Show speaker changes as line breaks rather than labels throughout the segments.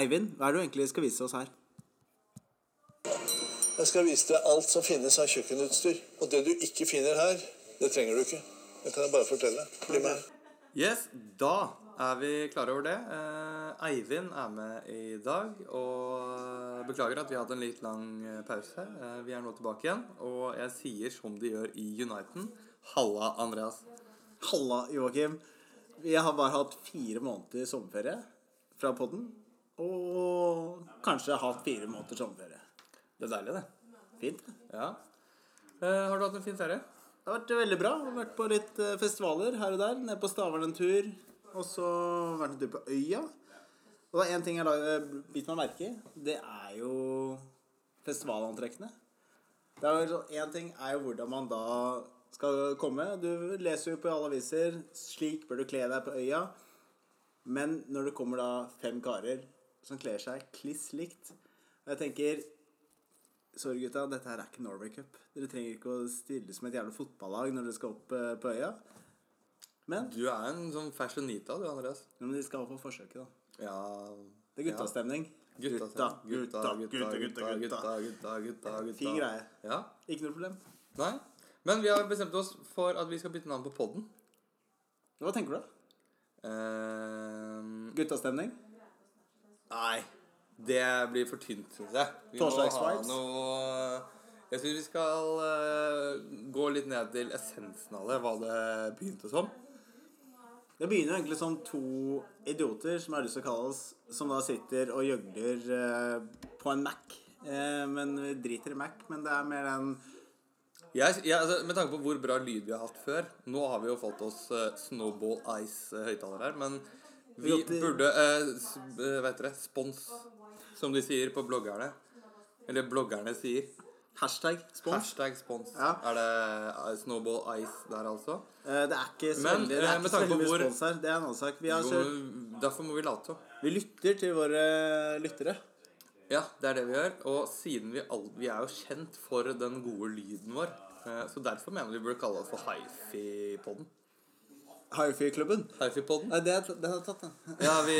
Eivind, hva er det du egentlig skal vise oss her?
Jeg skal vise deg alt som finnes av kjøkkenutstyr. Og det du ikke finner her, det trenger du ikke. Det kan jeg bare fortelle. Bli med.
Yes, da er vi klare over det. Eh, Eivind er med i dag, og beklager at vi har hatt en litt lang eh, pause. Eh, vi er nå tilbake igjen, og jeg sier som de gjør i Uniten. Halla, Andreas.
Halla, Joakim. Vi har bare hatt fire måneder sommerferie fra podden. Og kanskje hatt fire måneder sommerferie.
Det er deilig, det.
Fint. Det
Ja. Eh, har du hatt en fin ferie?
har vært veldig bra. Jeg har vært på litt eh, festivaler her og der. Nede på Stavern en tur. Og så vært en tur på Øya. Og det er én ting jeg har bitt meg merke i. Det er jo festivalantrekkene. Det er jo sånn- En ting er jo hvordan man da skal komme. Du leser jo på alle aviser 'Slik bør du kle deg på øya'. Men når det kommer da fem karer som kler seg kliss likt Og jeg tenker Sorry, gutta, dette her er ikke Norway Cup. Dere trenger ikke å stille som et jævla fotballag når dere skal opp eh, på øya. Men,
Du er en sånn fashionita, du, Andreas.
men de skal på forsøket, da.
Ja.
Det er guttastemning.
Gutta,
gutta, gutta, gutta, gutta.
gutta, gutta, gutta.
Fin greie.
Ja.
Ikke noe problem.
Nei. Men vi har bestemt oss for at vi skal bytte navn på podden.
Hva tenker du? da?
Eh,
Guttastemning?
nei. Det blir for tynt, syns jeg. Vi må ha
Torsdagsvibes.
noe Jeg syns vi skal eh, gå litt ned til essensen av det, hva det begynte som.
Det begynner jo egentlig som to idioter som er lyst til å kalle oss, som da sitter og gjøgler eh, på en Mac. Eh, men vi driter i Mac, men det er mer den
Jeg, jeg, altså, med tanke på hvor bra lyd vi har hatt før Nå har vi jo fått oss eh, Snowball Ice-høyttaler her, men vi
Vi måtte-
burde eh, s- eh, Vet dere Spons, som de sier på bloggerne. Eller bloggerne sier.
hashtag spons.
Hashtag spons.
Ja.
Er det eh, Snowball Ice der, altså?
Eh, det er ikke så
Men,
veldig, det
eh,
er
med
ikke så
tanke på
veldig mye
hvor-
spons her. Det er en annen sak. Vi, har
Jo,
kjørt,
men derfor må vi late som.
vi lytter til våre lyttere.
Ja, det er det vi gjør. Og siden vi, all, vi er jo kjent for den gode lyden vår, eh, så derfor mener vi burde kalle oss for Hifi-podden.
Hifi-klubben.
Hifi-podden?
Nei, det er, den er tatt, den.
Ja, vi,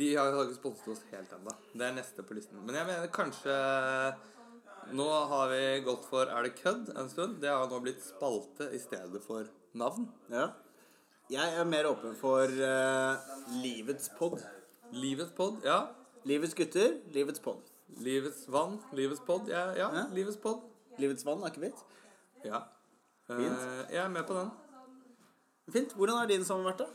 de har jo ikke sponset oss helt ennå. Det er neste på listen. Men jeg mener kanskje Nå har vi gått for Er det kødd? en stund. Det har nå blitt spalte i stedet for navn.
Ja. Jeg er mer åpen for eh, livets pod.
Livets pod. Ja.
Livets gutter, livets pod.
Livets vann. Livets pod. Ja, ja.
Ja.
Livets pod.
Livets vann, akevitt.
Ja. Eh,
Fint.
jeg er med på den.
Fint. Hvordan har din sommer vært, da?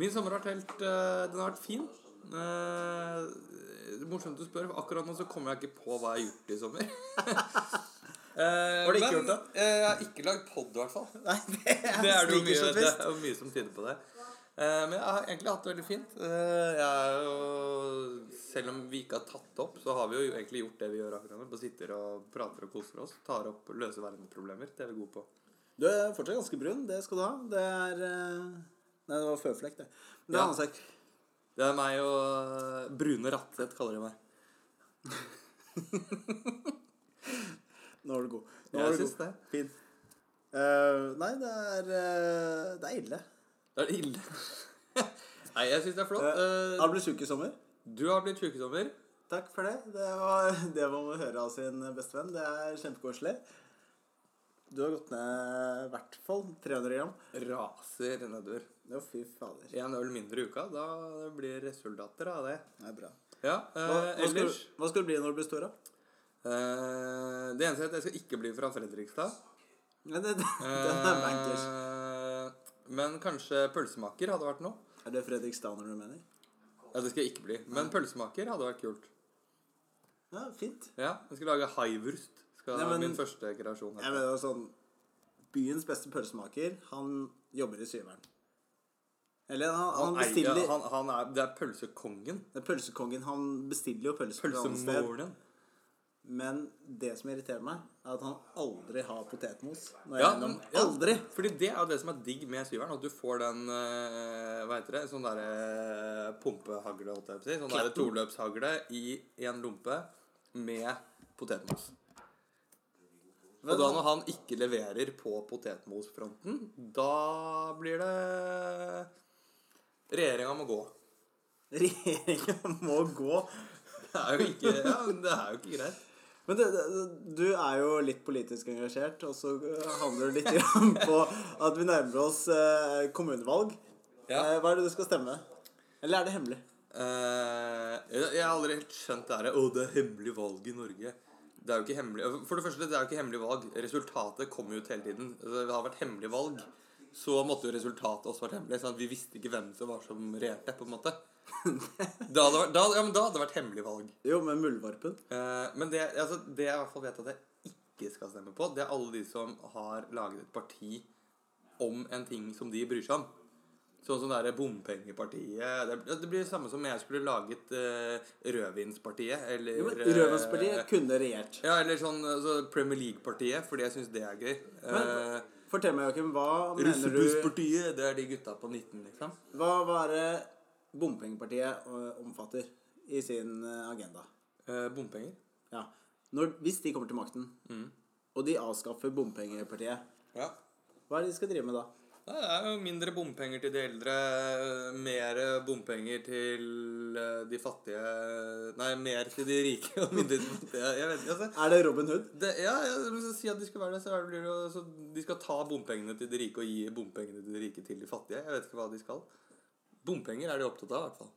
Min sommer har vært helt eh, Den har vært fin. Eh, det er morsomt du spør. for Akkurat nå så kommer jeg ikke på hva jeg har gjort i sommer. Eh,
Har du ikke gjort det?
jeg har ikke lagd pod, i hvert fall.
Nei, det er,
Det er det jo
sniker
mye,
som
det
fest.
er jo mye som tyder på det. Eh, men jeg har egentlig hatt det veldig fint. Eh, jeg er jo Selv om vi ikke har tatt det opp, så har vi jo egentlig gjort det vi gjør akkurat nå. Bare sitter og prater og koser oss. Tar opp løse verdensproblemer. Det er vi gode på.
Du er fortsatt ganske brun, det skal du ha. Det er eh, Nei, det var føflekk, det. Men det er en
Ja.
annen sak.
Det er meg og eh, Brune Ratseth kaller de meg.
Nå var du god. Nå
Jeg
var du
syns
god.
det.
Fin. Eh, nei, det er eh, Det er ille.
Det er ille. Nei, jeg syns det er flott.
Uh,
Eh,
blitt sjuk i sommer.
Du har blitt sjuk i sommer.
Takk for det. Det var det man må høre av sin beste venn. Det er kjempekoselig. Du har gått ned i hvert fall 300 gram.
Raser nedover.
Å, fy fader.
Én øl mindre i uka, da blir resultater av det.
Det er bra.
Ja, eh,
Hva, hva, skal,
ellers
du- hva skal du bli når du blir stor, da?
eh, Det eneste er at jeg skal ikke bli fra Fredrikstad.
Ja, det, det, den er bankers.
Eh, men kanskje pølsemaker hadde vært noe.
Er det Fredrikstaner du mener?
Ja, det skal jeg ikke bli. Men pølsemaker hadde vært kult.
Ja, fint.
Ja, Jeg skal lage haivurst. Skal
Nei, men-
min første kreasjon.
Jeg
hete.
mener sånn Byens beste pølsemaker, han jobber i syveren. Eller han, han,
Han, eier-
bestiller
han, han er, det er pølsekongen.
Det er Pølsekongen, han bestiller jo pølser fra annet sted.
Pølsemoren.
Men det som irriterer meg, er at han aldri har potetmos. Når
Ja,
jeg gjennom,
ja.
Aldri!
Fordi det er jo det som er digg med syveren, at du får den eh, Hva heter det? Sånn derre eh, pumpehagle, holdt jeg på å si. Sånn derre
Kletten.
toløpshagle i en lompe med potetmos. Og da når han ikke leverer på potetmosfronten, da blir det Regjeringa må gå.
Regjeringa må gå.
Det er jo ikke, ja, men det er jo ikke greit.
Men det, det, du er jo litt politisk engasjert, og så eh, handler det litt grann på at vi nærmer oss eh, kommunevalg.
Ja.
Eh, Hva er det du skal stemme? Eller er det hemmelig?
Eh, jeg jeg har aldri helt skjønt det her Å, det er hemmelig valg i Norge. Det er jo ikke hemmelig For det første, det er jo ikke hemmelig valg. Resultatet kommer jo ut hele tiden. Altså, Det har vært hemmelig valg. Så måtte jo resultatet også vært hemmelig. Sånn at vi visste ikke hvem som var som regjerte. på en måte Da hadde vært- da, ja, men da hadde det vært hemmelig valg.
Jo, med Muldvarpen.
Eh, men det, altså, det jeg i hvert fall vet at jeg ikke skal stemme på, det er alle de som har laget et parti om en ting som de bryr seg om. Sånn som det der bompengepartiet Det, det blir det samme som om jeg skulle laget eh, Rødvinspartiet. Eller
Jo, men
eh,
Rødvannspartiet kunne regjert.
Ja, eller sånn altså, Premier League-partiet, fordi jeg syns det er gøy. Eh,
Fortell meg, Joakim, hva mener du
Russebusspartiet, det er de gutta på 19, liksom.
Hva var det bompengepartiet eh, omfatter i sin eh, agenda?
Eh, bompenger.
Ja. Når, hvis de kommer til makten, og de avskaffer bompengepartiet,
Ja.
hva er det de skal drive med da?
Ja, Det er jo mindre bompenger til de eldre, mer bompenger til eh, de fattige Nei, mer til de rike og mindre til de fattige. Jeg vet ikke, altså.
Er det Robin Hood?
Det, ja, ja, men så Si at de skal være det, så er det blir det jo- så De skal ta bompengene til de rike og gi bompengene til de rike til de fattige. Jeg vet ikke hva de skal. Bompenger er de opptatt av, i hvert fall.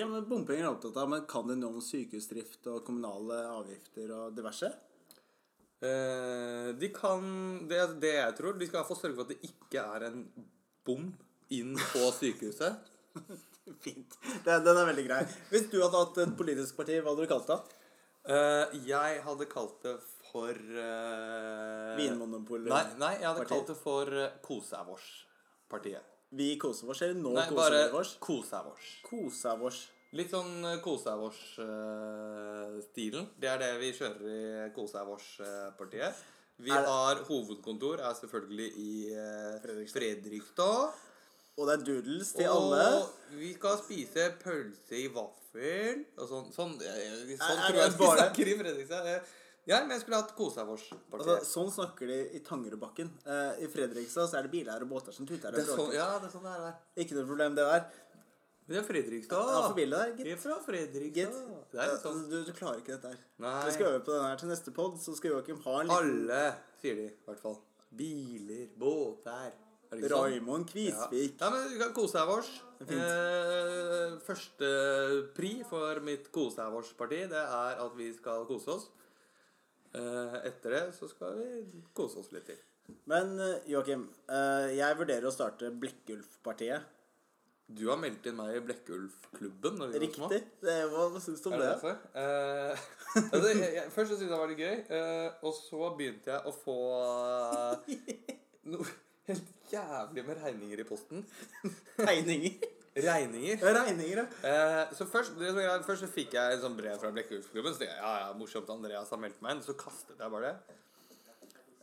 Ja, men Bompenger er opptatt av, men kan det noe om sykehusdrift og kommunale avgifter og diverse?
Eh, de kan Det er det jeg tror. De skal i hvert fall sørge for at det ikke er en bom inn på sykehuset.
Fint. Den, den er veldig grei. Hvis du hadde hatt et politisk parti, hva hadde du kalt det?
Eh, jeg hadde kalt det for uh,
Vinmonopol-
Nei, nei, jeg hadde
Parti.
kalt det for eh, Kosevårs-partiet.
Vi koser oss, eller nå
Nei,
koser
bare
vi oss?
Kosevårs.
Koser oss.
Litt sånn Kosevårs-stilen. det er det vi kjører i Kosevårs-partiet. Vi
Er det-
har hovedkontor, er selvfølgelig i eh, Fredrikstad.
Og det er doodles til
og
alle.
vi skal spise pølse i vaffel og sånn. Sånn, eh, sånn
er det
tror jeg vi
bare-
snakker i Fredrikstad. Eh, Ja, men jeg skulle hatt Kosevårs-partiet.
Altså, sånn snakker de i Tangerudbakken. Eh, I Fredrikstad så er det biler og båter som tuter
Det
og
er sånn,
bråker.
ja, det er sånn det er der.
Ikke noe problem, det der.
Vi er Fredrikstad.
Ja, for bildet der, gitt.
Vi er fra
Gitt.
Fredrikstad. Det er litt
Altså,
sånn.
Du, du klarer ikke dette her.
Nei.
Vi skal øve på den her til neste pod, så skal Joakim ha en liten
Alle, sier de i hvert fall. Biler, båter. Er det ikke sånn?
Raymond
Ja.
Kvisvik.
ja, men vi kan kose oss.
er fint.
Eh, første pri for mitt kose parti det er at vi skal kose oss. Eh, etter det så skal vi kose oss litt til.
Men eh, Joakim, eh, jeg vurderer å starte Blekkulf-partiet.
Du har meldt inn meg i Blekkulfklubben. når vi var små.
Riktig? Det, hva hva syns du om
Er det
det?
derfor? Eh, altså, jeg, jeg, først så syntes jeg det var litt gøy, eh, og så begynte jeg å få eh, noe helt jævlig med regninger i posten.
Regninger.
Regninger.
Ja, Regninger, ja.
Eh, så først, det som er greia, først så fikk jeg et sånt brev fra Blekkulfklubben. Så tenkte jeg, ja, ja, morsomt, Andreas har meldt meg inn. Så kastet jeg bare det.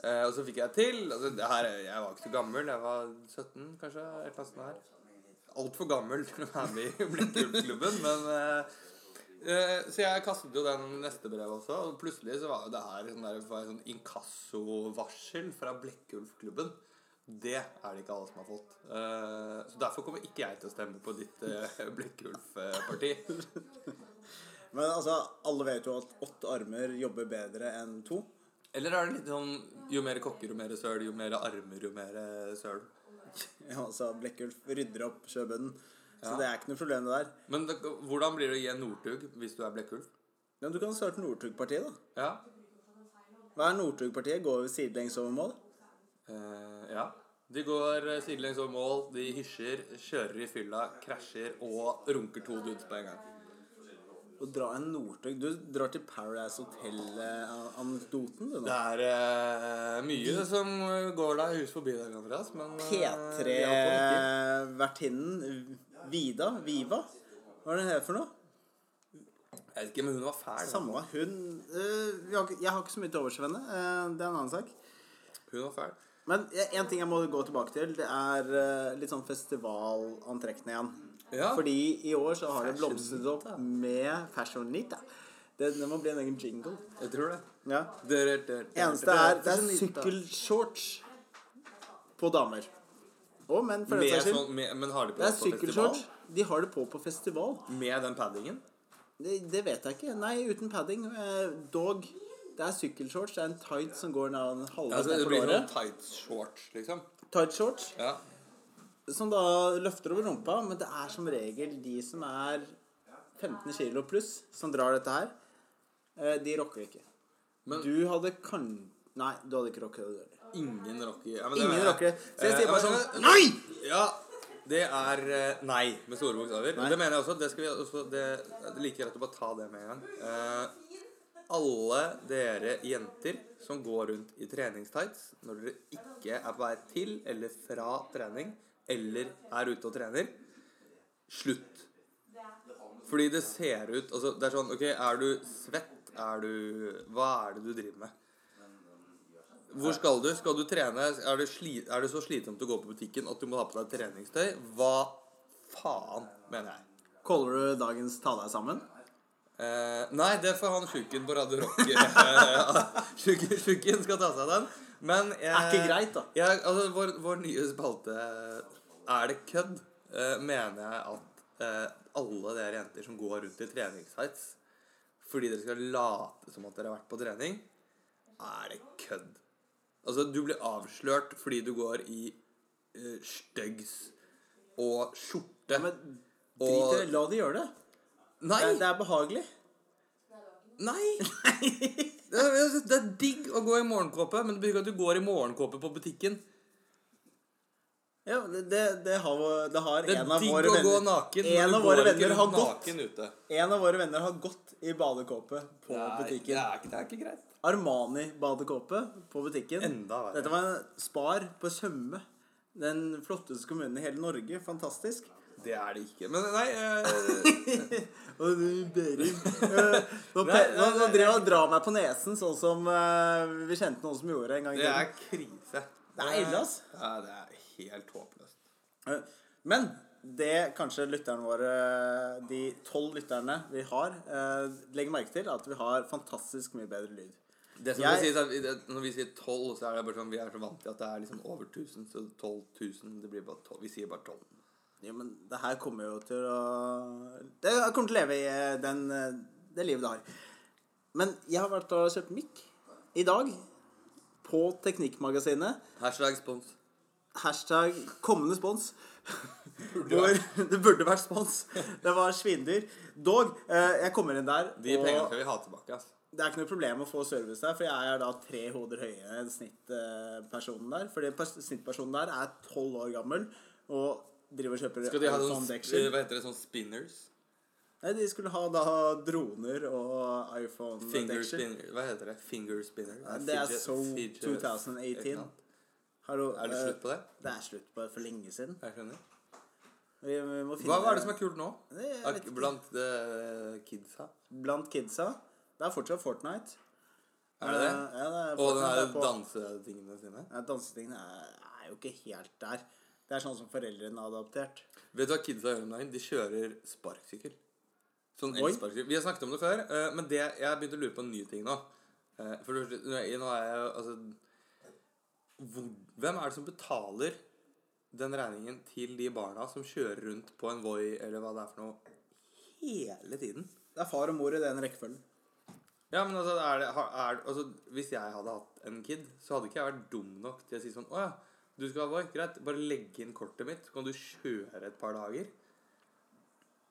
Eh, og så fikk jeg til. Altså, det her, jeg var ikke så gammel. Jeg var 17, kanskje. Et eller annet sånt her. Altfor gammel til å være med i Blekkulfklubben, men eh, eh, Så jeg kastet jo den neste brevet også, og plutselig så var jo det her sånn, der, var sånn inkassovarsel fra Blekkulfklubben. Det er det ikke alle som har fått. Eh, så derfor kommer ikke jeg til å stemme på ditt uh, Blekkulf-parti.
Men altså, alle vet jo at åtte armer jobber bedre enn to.
Eller er det litt sånn jo mer kokker, jo mer søl, jo mer armer, jo mer eh, søl.
Ja, altså, Blekkulf rydder opp sjøbunnen. Så det er ikke noe problem, det der.
Men det, hvordan blir det å gi en Northug hvis du er Blekkulf?
Men du kan starte Northug-partiet, da.
Ja.
Hva er Northug-partiet? Går jo sidelengs over mål?
Eh, ja. De går eh, sidelengs over mål, de hysjer, kjører i fylla, krasjer og runker to dudes på en gang.
Å dra en Northug Du drar til Paradise Hotel-anekdoten, du nå.
Det er eh, mye som eh, går deg hus forbi deg, Andreas, men eh, vi har på den ikke.
P3-vertinnen Vida? Viva? Hva er det her for noe?
Jeg vet ikke, men hun var fæl. da.
Samme hun øh, vi har ikke- Jeg har ikke så mye til overs for henne. øh, det er en annen sak.
Hun var fæl.
Men en ting jeg må gå tilbake til, det er øh, litt sånn festivalantrekkene igjen.
Ja.
Fordi i år så har det
Fashionita.
blomstret opp med fashionita. Det, det må bli en egen jingle.
Jeg tror det.
Ja.
Det er- det er-
Eneste er det er sykkelshorts på damer. Og menn, for den
Med
saks skyld.
sånn, med, men har de på
Det er
på festival?
sykkelshorts. De har det på på festival.
Med den paddingen?
Det, det vet jeg ikke. Nei, uten padding. Eh, Dog, det er sykkelshorts. Det er en tight som går ned
Ja,
halvveis
så
ned
det
på
blir sånn
låret.
tight shorts, liksom.
Tight shorts
Ja.
som da løfter over rumpa, men det er som regel de som er 15 kilo pluss, som drar dette her. Eh, De rocker det ikke.
Men-
du hadde kan... Nei, du hadde ikke rocket det. heller.
Ingen rocker ja, men det
Ingen
mener jeg.
rocker det. Så jeg
Eh,
sier bare
men-
sånn Nei!
Ja, det er eh, nei med store bokstaver.
Nei.
Det mener jeg også. Det, skal vi også, det, det er like greit å bare ta det med en gang. Eh, alle dere jenter som går rundt i treningstights når dere ikke er på vei til eller fra trening, eller er ute og trener, slutt. Fordi det ser ut altså, Det er sånn OK, er du svett? Er du Hva er det du driver med? Hvor skal du? Skal du trene? Er det, sli, er det så slitsomt å gå på butikken at du må ha på deg treningstøy? Hva faen, mener jeg.
Caller du dagens Ta deg sammen?
Eh, nei, det får han tjukken på Radio Rock. eh, Tjukken tjukken skal ta seg den. Men jeg,
Er ikke greit, da.
Jeg, altså, vår, vår nye spalte Er det kødd? eh, mener jeg at eh, alle dere jenter som går rundt i treningstights fordi dere skal late som at dere har vært på trening, er det kødd. Altså, du blir avslørt fordi du går i uh, styggs og skjorte.
Men drit i det. La de gjøre det.
nei!
Det det er behagelig.
Nei! det, er, altså, det er digg å gå i morgenkåpe, men det betyr ikke at du går i morgenkåpe på butikken.
Ja, det, det, det har, det har
Det er
en av
digg å
våre
gå
venner
naken.
En
men du
av våre
går ikke
venner har
rundt
gått
naken ute.
En av våre venner har gått i badekåpe på
Det er,
butikken.
Det er, ikke, det er ikke greit.
Armani-badekåpe på butikken.
Enda verre.
Dette var en Spar på Tjøme. Den flotteste kommunen i hele Norge. Fantastisk.
Det er det ikke. Men nei eh,
Og du, Berim eh, Nå
Nei,
pe- nå-
nei,
nå
nei,
drev han og dra meg på nesen, sånn som eh, vi kjente noen som gjorde en gang i
Det er
tiden.
krise.
Det er ille, ass.
Ja, det er helt håpløst.
Eh, Men det kanskje lytterne våre, de tolv lytterne vi har, eh, legger merke til, er at vi har fantastisk mye bedre lyd.
Det som
Jeg-
jeg... sies er, i det- Når vi sier 12, så er det bare sånn vi er så vant til at det er liksom over 1000. Så 12 000 det blir bare 12. Vi sier bare 12.
Ja, men det her kommer jo til å Det kommer til å leve i eh, den, eh, det livet det har. Men jeg har vært og kjøpt mic i dag på Teknikkmagasinet.
Hashtag spons.
Hashtag kommende spons. Hvor det burde vært spons. Det var svindyr. Dog, eh, jeg kommer inn der,
De pengene
og
skal vi ha tilbake. ass.
det er ikke noe problem å få service der, for jeg er da tre hoder høyere enn snittpersonen der. Fordi pers- snittpersonen der er tolv år gammel og driver og kjøper
Skal de ha
iPhone
sånn,
Dexion.
eh, hva heter det, sånn spinners?
Nei, de skulle ha da droner og iPhone
Finger
detection.
spinner Hva heter det? Finger spinner?
Nei, Det er
fidget-
so
fidget-
2018. Hallo,
Er det
eh,
slutt på det?
Det er slutt på det for lenge siden.
Jeg skjønner.
Vi, vi må finne
Hva, hva er det som er kult nå?
Nei, jeg vet
Ak-
ikke.
Blant eh, kidsa?
Blant kidsa. Det er fortsatt Fortnite.
Er det det?
Eh, ja, det er
Og den
Fortnite
her
er på-
dansetingene sine?
Ja, Dansetingene er, er jo ikke helt der. Det er sånn som foreldrene har adoptert.
Vet du hva kidsa gjør om dagen? De kjører sparkesykkel. Sånn
Oi.
elsparkesykkel. Vi har snakket om det før, eh, men det, jeg har begynt å lure på en ny ting nå. Eh, For det første, nå er jeg- nå er jeg jo Altså hvor, Hvem er det som betaler den regningen til de barna som kjører rundt på en Voi eller hva det er for noe, hele tiden?
Det er far og mor i den rekkefølgen.
Ja, men altså, er det, har- er, altså Hvis jeg hadde hatt en kid, så hadde ikke jeg vært dum nok til å si sånn Å ja, du skal ha Voi. Greit, bare legg inn kortet mitt, så kan du kjøre et par dager.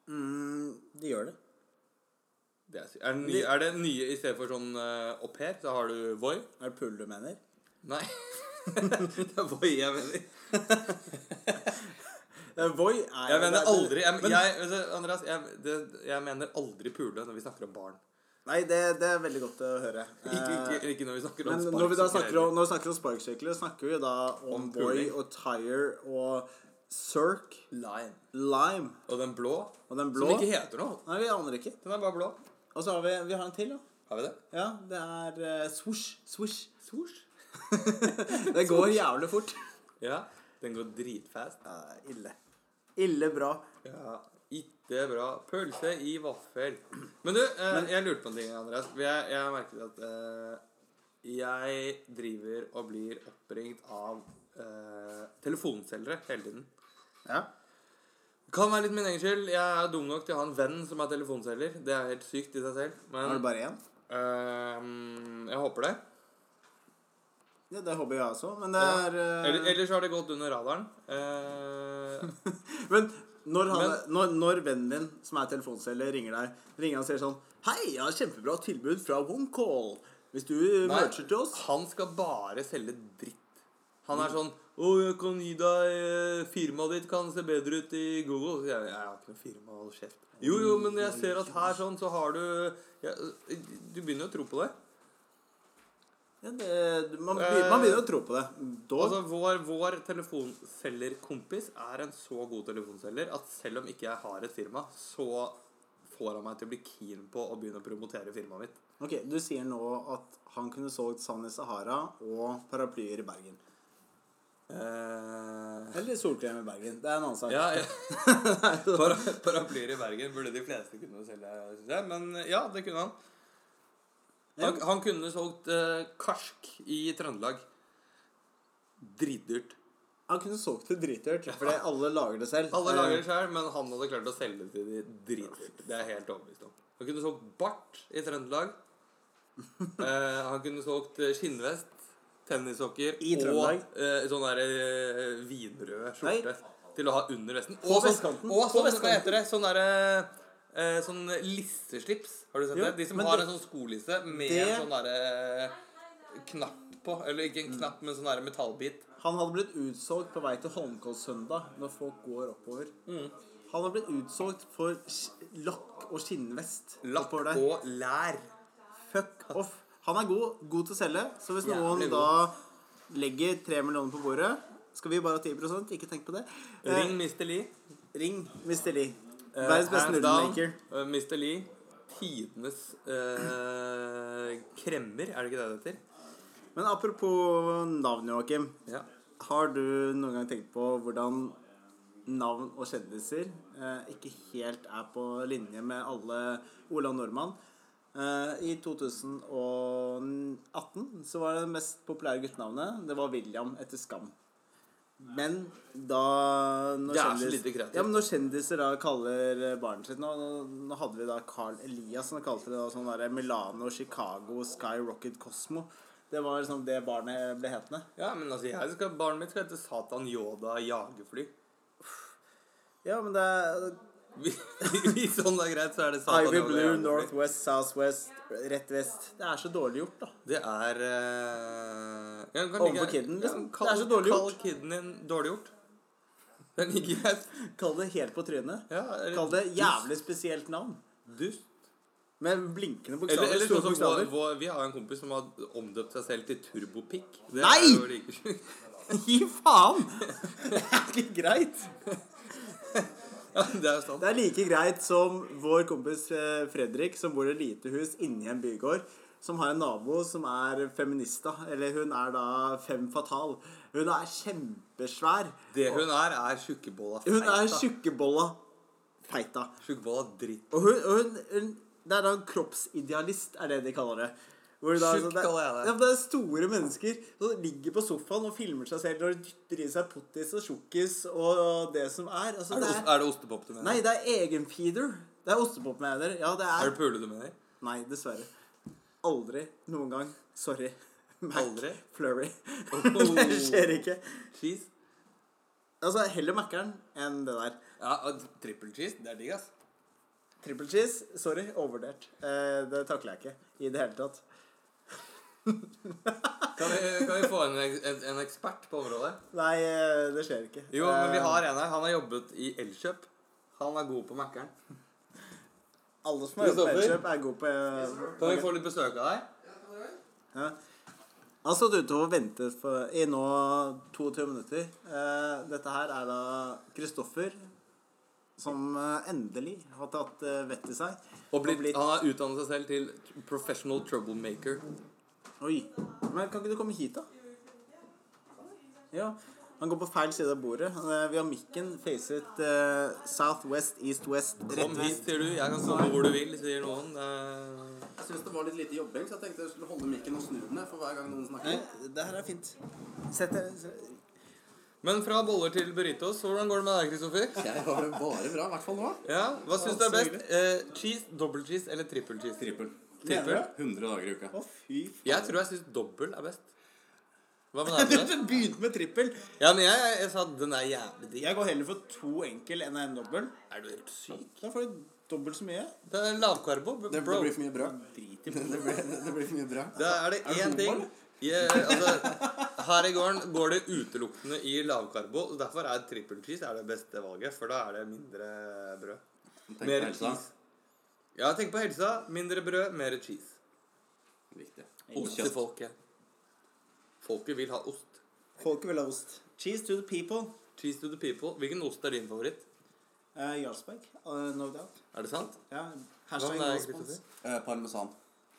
Mm, de gjør det.
Det er, sy- er, det nye, er det nye i stedet for sånn uh, au pair, så har du Voi?
Er det pull du mener?
Nei. det er Voi jeg mener.
Eh, Voi er
Jeg
det
mener
er-
aldri jeg,
Men-
jeg, vet du, Andreas, jeg, det, jeg mener aldri pule når vi snakker om barn.
Nei, det, det er veldig godt å høre.
Ikke,
Eh,
ikke, ikke når vi snakker om
Men
spark.
når vi da
så
snakker
greier
om, når vi snakker om sparkesykler, snakker vi da om,
Om
Boy
puling.
og Tire og Cirque,
Line.
Lime
Og den blå,
og den
Som
blå.
ikke heter noe.
Nei, vi aner ikke.
Den er bare blå.
Og så har vi, vi har en til, da.
Har vi det?
Ja, det er eh, Swoosh. Swoosh. det går jævlig fort.
Ja. Den går dritfast.
Ja, ille. Ille bra.
Ja. Ikke bra. Pølse i vaffel. Men du, eh, jeg lurte på en ting, Andreas. For Jeg, jeg merket at eh, jeg driver og blir oppringt av eh, telefonselgere hele tiden.
Ja.
Kan være litt min egen skyld. Jeg er dum nok til å ha en venn som er telefonselger. Det er helt sykt i seg selv. Men
Har du bare én?
eh, jeg håper det.
Ja, det håper jeg også, men det
Ja.
er eh,
Eller, ellers har det gått under radaren. Eh,
Men når, han,
Men-
når, når vennen din, som er telefonselger, ringer deg, ringer han og sier sånn Hei, jeg har kjempebra tilbud fra OneCall. Hvis du
Nei,
merger til oss Mm.
Han skal bare selge dritt. Han er sånn 'Å, jeg kan gi deg eh, Firmaet ditt kan se bedre ut i Google.' Så jeg, jeg har ikke noe firma, hold kjeft. Jo, jo, men jeg ser at her sånn, så har du ja, eh, Du begynner jo å tro på det.
ja, det, man, begynner, man begynner å tro på det. Da
Eh, Altså, vår, vår telefonselgerkompis er en så god telefonselger at selv om ikke jeg har et firma, så får han meg til å bli keen på å begynne å promotere firmaet mitt.
Ok, Du sier nå at han kunne solgt sand i Sahara og paraplyer i Bergen.
Eh,
Eller solkrem i Bergen. Det er en annen sak.
Ja, ja. Para, paraplyer i Bergen burde de fleste kunne selge, synes jeg. Men ja, det kunne han. Han, han kunne solgt eh, karsk i Trøndelag. Dritdyrt.
Han kunne solgt det dritdyrt, fordi alle lager det selv.
Alle
Eh,
lager det sjøl, men han hadde klart å selge det til de dritdyrt. Det er jeg helt overbevist om. Han kunne solgt bart i Trøndelag. Eh, han kunne solgt eh, skinnvest, tennissokker
I Trøndelag?
og eh, sånn der eh, vinrød skjorte til å ha under vesten.
På
Og vest-
vestkanten.
Og
På
sånn, hva
vestkanten.
heter det? Sånn derre eh, Sånn lisseslips. Har du sett
Jo,
det? De som
men
har
det-
en sånn skolisse med
det-
en sånn derre knapp på. Eller ikke en
Mm.
knapp, men sånn derre metallbit.
Han hadde blitt utsolgt på vei til Holmenkollsøndag når folk går oppover.
Mm.
Han hadde blitt utsolgt for sk- lakk og skinnvest.
Lakk
oppover der.
og lær.
Fuck off. Han er god, god til å selge, så hvis
Jævlig
noen
god.
da legger tre millioner på bordet skal vi bare ha 10 Ikke tenk på det. Eh,
Ring Mr. Lee.
ring Mr. Lee.
Eh,
Verdens beste
hands down,
nudelmaker.
eh, Mr. Lee. Tidenes eh, kremmer, er det ikke det det heter?
Men apropos navn, Joakim.
Ja.
Har du noen gang tenkt på hvordan navn og kjendiser eh, ikke helt er på linje med alle Ola Nordmann? Eh, I 2018 så var det mest populære guttenavnet Det var William etter Skam. Men da når
Det er så
kjendis-
lite kreativt.
Ja, men når kjendiser da kaller eh, barnet sitt nå, nå- nå hadde vi da Carl Elias som kalte det da sånn derre Milano, Chicago, Sky Rocket Cosmo. Det var liksom det barnet ble hetende.
ja, men altså, jeg skal, barnet mitt skal hete Satan Yoda Jagerfly.
Ja, men det er
Hvis sånn er greit, så er det Satan
Ivy
Yoda
Blue,
Jagerfly.
Northwest, Southwest, rett vest. Det er så dårlig gjort, da.
Det er eh, ja, kan
Overfor
ligge-
kidden, liksom.
men
Det er så dårlig
kall
gjort.
kidden din dårlig gjort. Den ligger greit.
Kall det helt på trynet.
Ja, eller-
Kall det jævlig spesielt navn.
Dust.
Med blinkende
Eller,
bokstaver.
eller sånn
store
som vår,
bokstaver.
vår, Vi har jo en kompis som har omdøpt seg selv til Turbopikk. Det
Nei!
er jo like sjukt.
Gi faen! Det er ikke greit.
Ja, det er jo sant.
Det er like greit som vår kompis eh, Fredrik, som bor i et lite hus inni en bygård. Som har en nabo som er feminista. Eller hun er da fem fatal. Hun er kjempesvær.
Det hun er, er tjukkebolla
Hun er
feita.
tjukkebolla feita.
Tjukkebolla dritt.
Og hun, og hun, hun Det er da en kroppsidealist, er det de kaller det. Hvor det da, sånn
Sjukt
det,
kaller jeg det.
Ja, men det er store mennesker som ligger på sofaen og filmer seg selv og dytter i seg pottis og tjukkis og det som er. Altså,
Er det,
det
ost-
er
er det ostepop du mener?
nei, det er egenfeeder. Det er ostepopmeder. Ja, det
Er
er
det pule du mener?
Nei, dessverre. Aldri noen gang. Sorry. Mac
Aldri?
Flurry.
Oh.
det skjer ikke.
Cheese?
Altså, heller Mækkern enn det der.
Ja, og Triple cheese? Det er digg, ass.
Triple cheese, sorry, overvurdert. Eh, det takler jeg ikke i det hele tatt.
Kan vi, kan vi få en, en, en ekspert på området?
Nei, eh, det skjer ikke.
Jo, men vi
Eh,
har en her. Han har jobbet i Elkjøp. Han er god på Mækkern.
Alle som har jobbet på
Kristoffer?
Elkjøp, er gode på eh,
Kan vi få litt besøk av deg?
ja. Han har stått ute og ventet for, i nå 22 minutter. Eh, dette her er da Kristoffer, som eh, endelig har tatt eh, vett i seg.
Og blitt, han har utdannet seg selv til professional troublemaker.
Oi. Men kan ikke du komme hit, da? Ja. Han går på feil side av bordet. Eh, Vi har mikken facet eh, south, west, east, west,
Kom
rett
hit,
vest.
sier du. Jeg kan sove hvor du vil, sier noen. Eh,
Jeg syns det var litt lite jobbing, så jeg tenkte jeg skulle holde mikken og snu den ned for hver gang noen snakker.
Nei, det her er fint. Sett deg
Men fra boller til burritos, hvordan går det med deg, Kristoffer?
Jeg har det bare bra, i hvert fall nå.
Ja, Hva syns du er best? Eh, cheese, dobbel cheese eller trippel cheese?
Trippel.
Trippel?
100 dager i uka.
Å, fy faen.
Jeg tror jeg syns dobbel er best. Hva med deg? Andreas?
Du begynte med trippel.
Ja, men jeg, jeg, jeg sa den er jævlig digg.
Jeg går heller for to enkel enn en dobbel.
Er du helt syk?
Da får du dobbelt så mye.
Det er lavkarbo,
Det,
bro.
det blir for mye bra.
Drit i
Det blir, det blir for mye bra.
Da er det
det
én ting
fotball?
Jeg- altså, Her i gården går det utelukkende i lavkarbo. og Derfor er trippel cheese er det beste valget, for da er det mindre brød.
Tenk på
Mer
helsa.
cheese. Ja, tenk på helsa. Mindre brød, mer cheese.
Viktig.
Ost til folket. Folket vil ha ost.
Folket vil ha ost. Cheese to the people.
Cheese to the people. Hvilken ost er din favoritt?
Eh, Jarlsberg. eh, no doubt.
Er det sant?
Ja.
Hva
Hashtag
med deg,
Jarlsberg.
Kristoffer?
Eh, parmesan.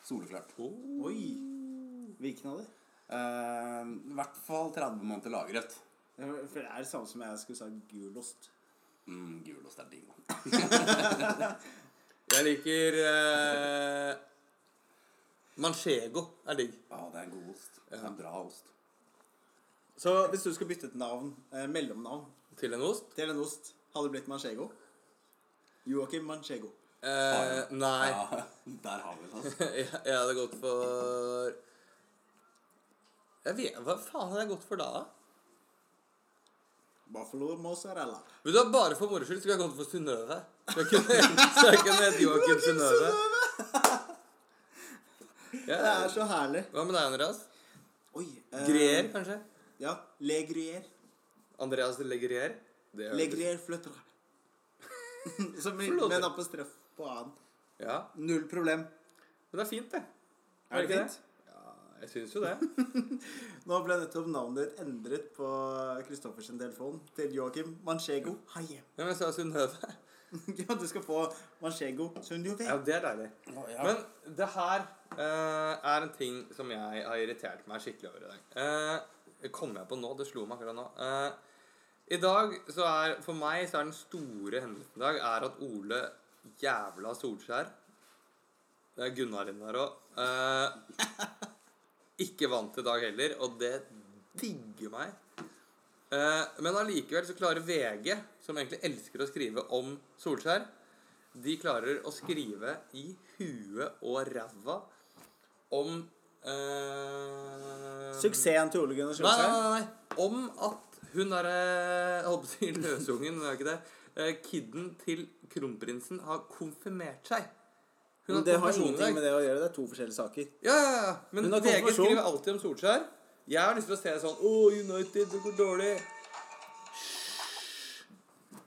Soleklart.
Oh.
Oi. Hvilken av de?
Eh, I hvert fall 30 måneder lagret.
For det er det samme som jeg skulle sagt gulost.
Mm, Gulost er digg, da.
Jeg liker eh, Manchego er digg.
Ja, det er en god ost. Det er en bra ost.
Så hvis du skulle bytte et navn, eh, mellomnavn,
Til en ost?
til en ost, hadde det blitt manchego? Joakim Manchego.
Eh, nei.
Ja, der har vi det, altså.
Jeg jeg hadde gått for jeg vet, Hva faen hadde jeg gått for da? da?
Buffalo mozzarella.
Vet du, hva, Bare for moro skyld skulle jeg gått for Synnøve. Så jeg kunne så jeg kunne hete Joakim Synnøve.
Det
Ja.
er så herlig.
Hva med deg, Andreas?
Oi. eh,
Grier, kanskje?
Ja. Le Gruyère.
Andreas Legrier? Det
Le
høres-
Gruyère fløtter. Som i-
Fløtter.
med en apostreff på annen.
Ja.
Null problem.
Men det er fint, det.
Er det
ikke
fint?
Ja, jeg syns jo det.
Nå ble nettopp navnet ditt endret på Kristoffers telefon til Joakim Manchego Haie.
Ja, men jeg sa Synnøve.
Ja, du skal få Manchego Sunjove.
Ja, det er deilig. Men det her eh, er en ting som jeg har irritert meg skikkelig over i dag. Eh, det kom jeg på nå. Det slo meg akkurat nå. Eh, I dag så er For meg så er den store hendelsen i dag er at Ole jævla Solskjær Det er Gunnar inn der òg. eh, ikke vant i dag heller, og det digger meg. Eh, men allikevel så klarer VG, som egentlig elsker å skrive om Solskjær, de klarer å skrive i huet og ræva om eh,
Suksessen til Ole Gunnar
Nei, nei,
Solskjær.
nei, nei. Om at hun derre Jeg holdt på å si løsungen, men det er ikke det. Eh, Kidden til kronprinsen har konfirmert seg.
Men Det har ingenting med det å gjøre. Det er to forskjellige saker.
Ja, ja, ja. Men
Hun har
VG
konfirmasjon.
skriver alltid om Solskjær. Jeg har lyst til å se sånn Å, United, det går dårlig.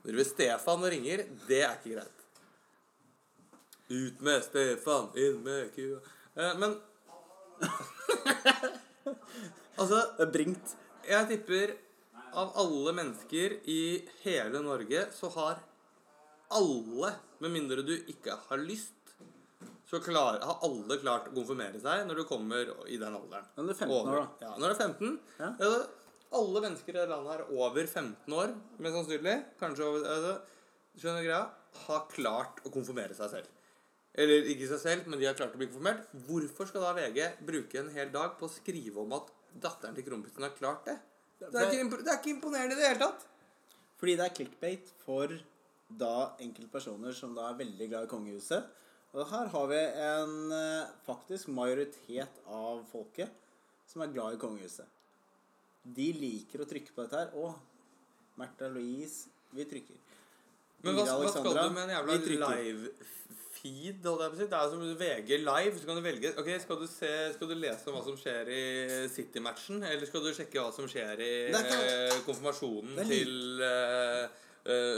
Når det Stefan ringer, det er ikke greit. Ut med Stefan, inn med kua. Eh, men Altså
Det er bringt.
jeg tipper av alle mennesker i hele Norge, så har alle, med mindre du ikke har lyst, så klar, har alle klart å konfirmere seg når du kommer i den alderen.
Når du er 15 år,
Over-
da.
Ja, når du er 15.
Ja.
altså, alle mennesker i dette landet er over 15 år, mest sannsynlig. Kanskje over altså, Skjønner du greia? Har klart å konfirmere seg selv. Eller ikke seg selv, men de har klart å bli konfirmert. Hvorfor skal da VG bruke en hel dag på å skrive om at datteren til kronprinsen har klart det? Det er ikke, imp- det er ikke imponerende i det hele tatt.
Fordi det er clickbait for da enkeltpersoner som da er veldig glad i kongehuset. Og her har vi en eh, faktisk majoritet av folket som er glad i kongehuset. De liker å trykke på dette her. Å, Märtha Louise, vi trykker.
Men hva,
Ida
hva skal
Alexandra,
du med en jævla
vi trykker.
live-feed? holdt jeg på å si? Det er jo som VG live. Så kan du velge Ok, skal du, se, skal du lese om hva som skjer i City-matchen? Eller skal du sjekke hva som skjer i
Det er ikke-
eh, konfirmasjonen
Det er like-
til eh,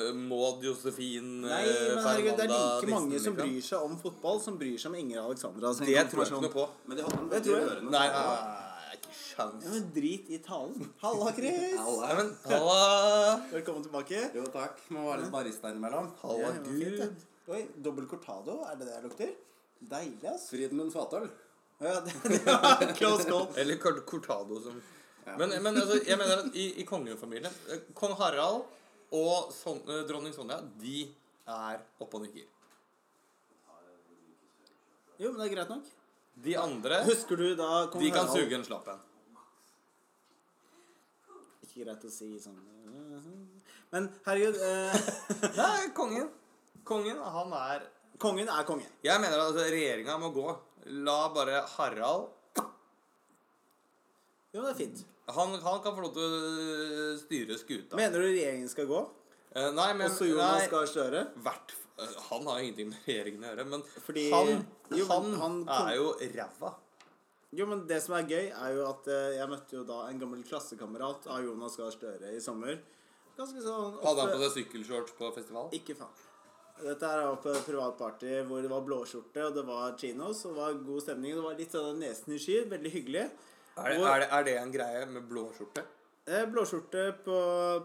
eh, Maud Josefin
Nei, men herregud, det er like mange som
bryr
bryr seg om fotball som bryr seg om Inger Alexandra. sin
liksom? Det tror jeg ikke
konfirmasjon.
noe på.
Men de hadde den
Det
veldig
tror jeg.
rørende.
Nei, nei, nei, ikke sjans.
Ja, men drit i talen. Halla, Chris!
Alle.
Nei, men halla,
Velkommen tilbake.
Jo takk. Må være litt barista innimellom.
halla
Ja, det var fint,
Gud.
det. Oi, dobbel cortado, er det det jeg lukter? Deilig, ass.
Fridmund Fatøl.
Ja, det, det var close call.
Eller Cort- Cortado som Men, men altså, jeg mener at i, i kongefamilien eh, Kong Harald og son, eh, dronning Sonja, de er oppe og nikker.
Jo, men det er greit nok.
De andre,
Husker du da kong
de kan
Harald
suge en slapp en.
ikke greit å si sånn Men herregud eh,
Nei, kongen. Kongen, han er
Kongen er konge.
Jeg mener at altså, regjeringa må gå. La bare Harald
Jo, det er fint.
han, han kan få lov til å eh, styre skuta.
Mener du regjeringen skal gå?
Eh, nei, men
Også Jonas
nei,
Gahr Støre?
hvert, eh, Han har ingenting med regjeringen å gjøre, men
Fordi-
han,
Jo,
han,
men han-
er jo ræva.
Jo, men det som er gøy, er jo at eh, jeg møtte jo da en gammel klassekamerat av Jonas Gahr Støre i sommer. Ganske sånn
Hadde han
oppe-
på seg sykkelshorts på festival?
Ikke faen. Dette her var på et privat party hvor det var blåskjorte, og det var chinos, og det var god stemning. og Det var litt sånn nesen i skyer. Veldig hyggelig.
Er det, er, det, er det en greie med blå skjorte?
Eh, Blåskjorte på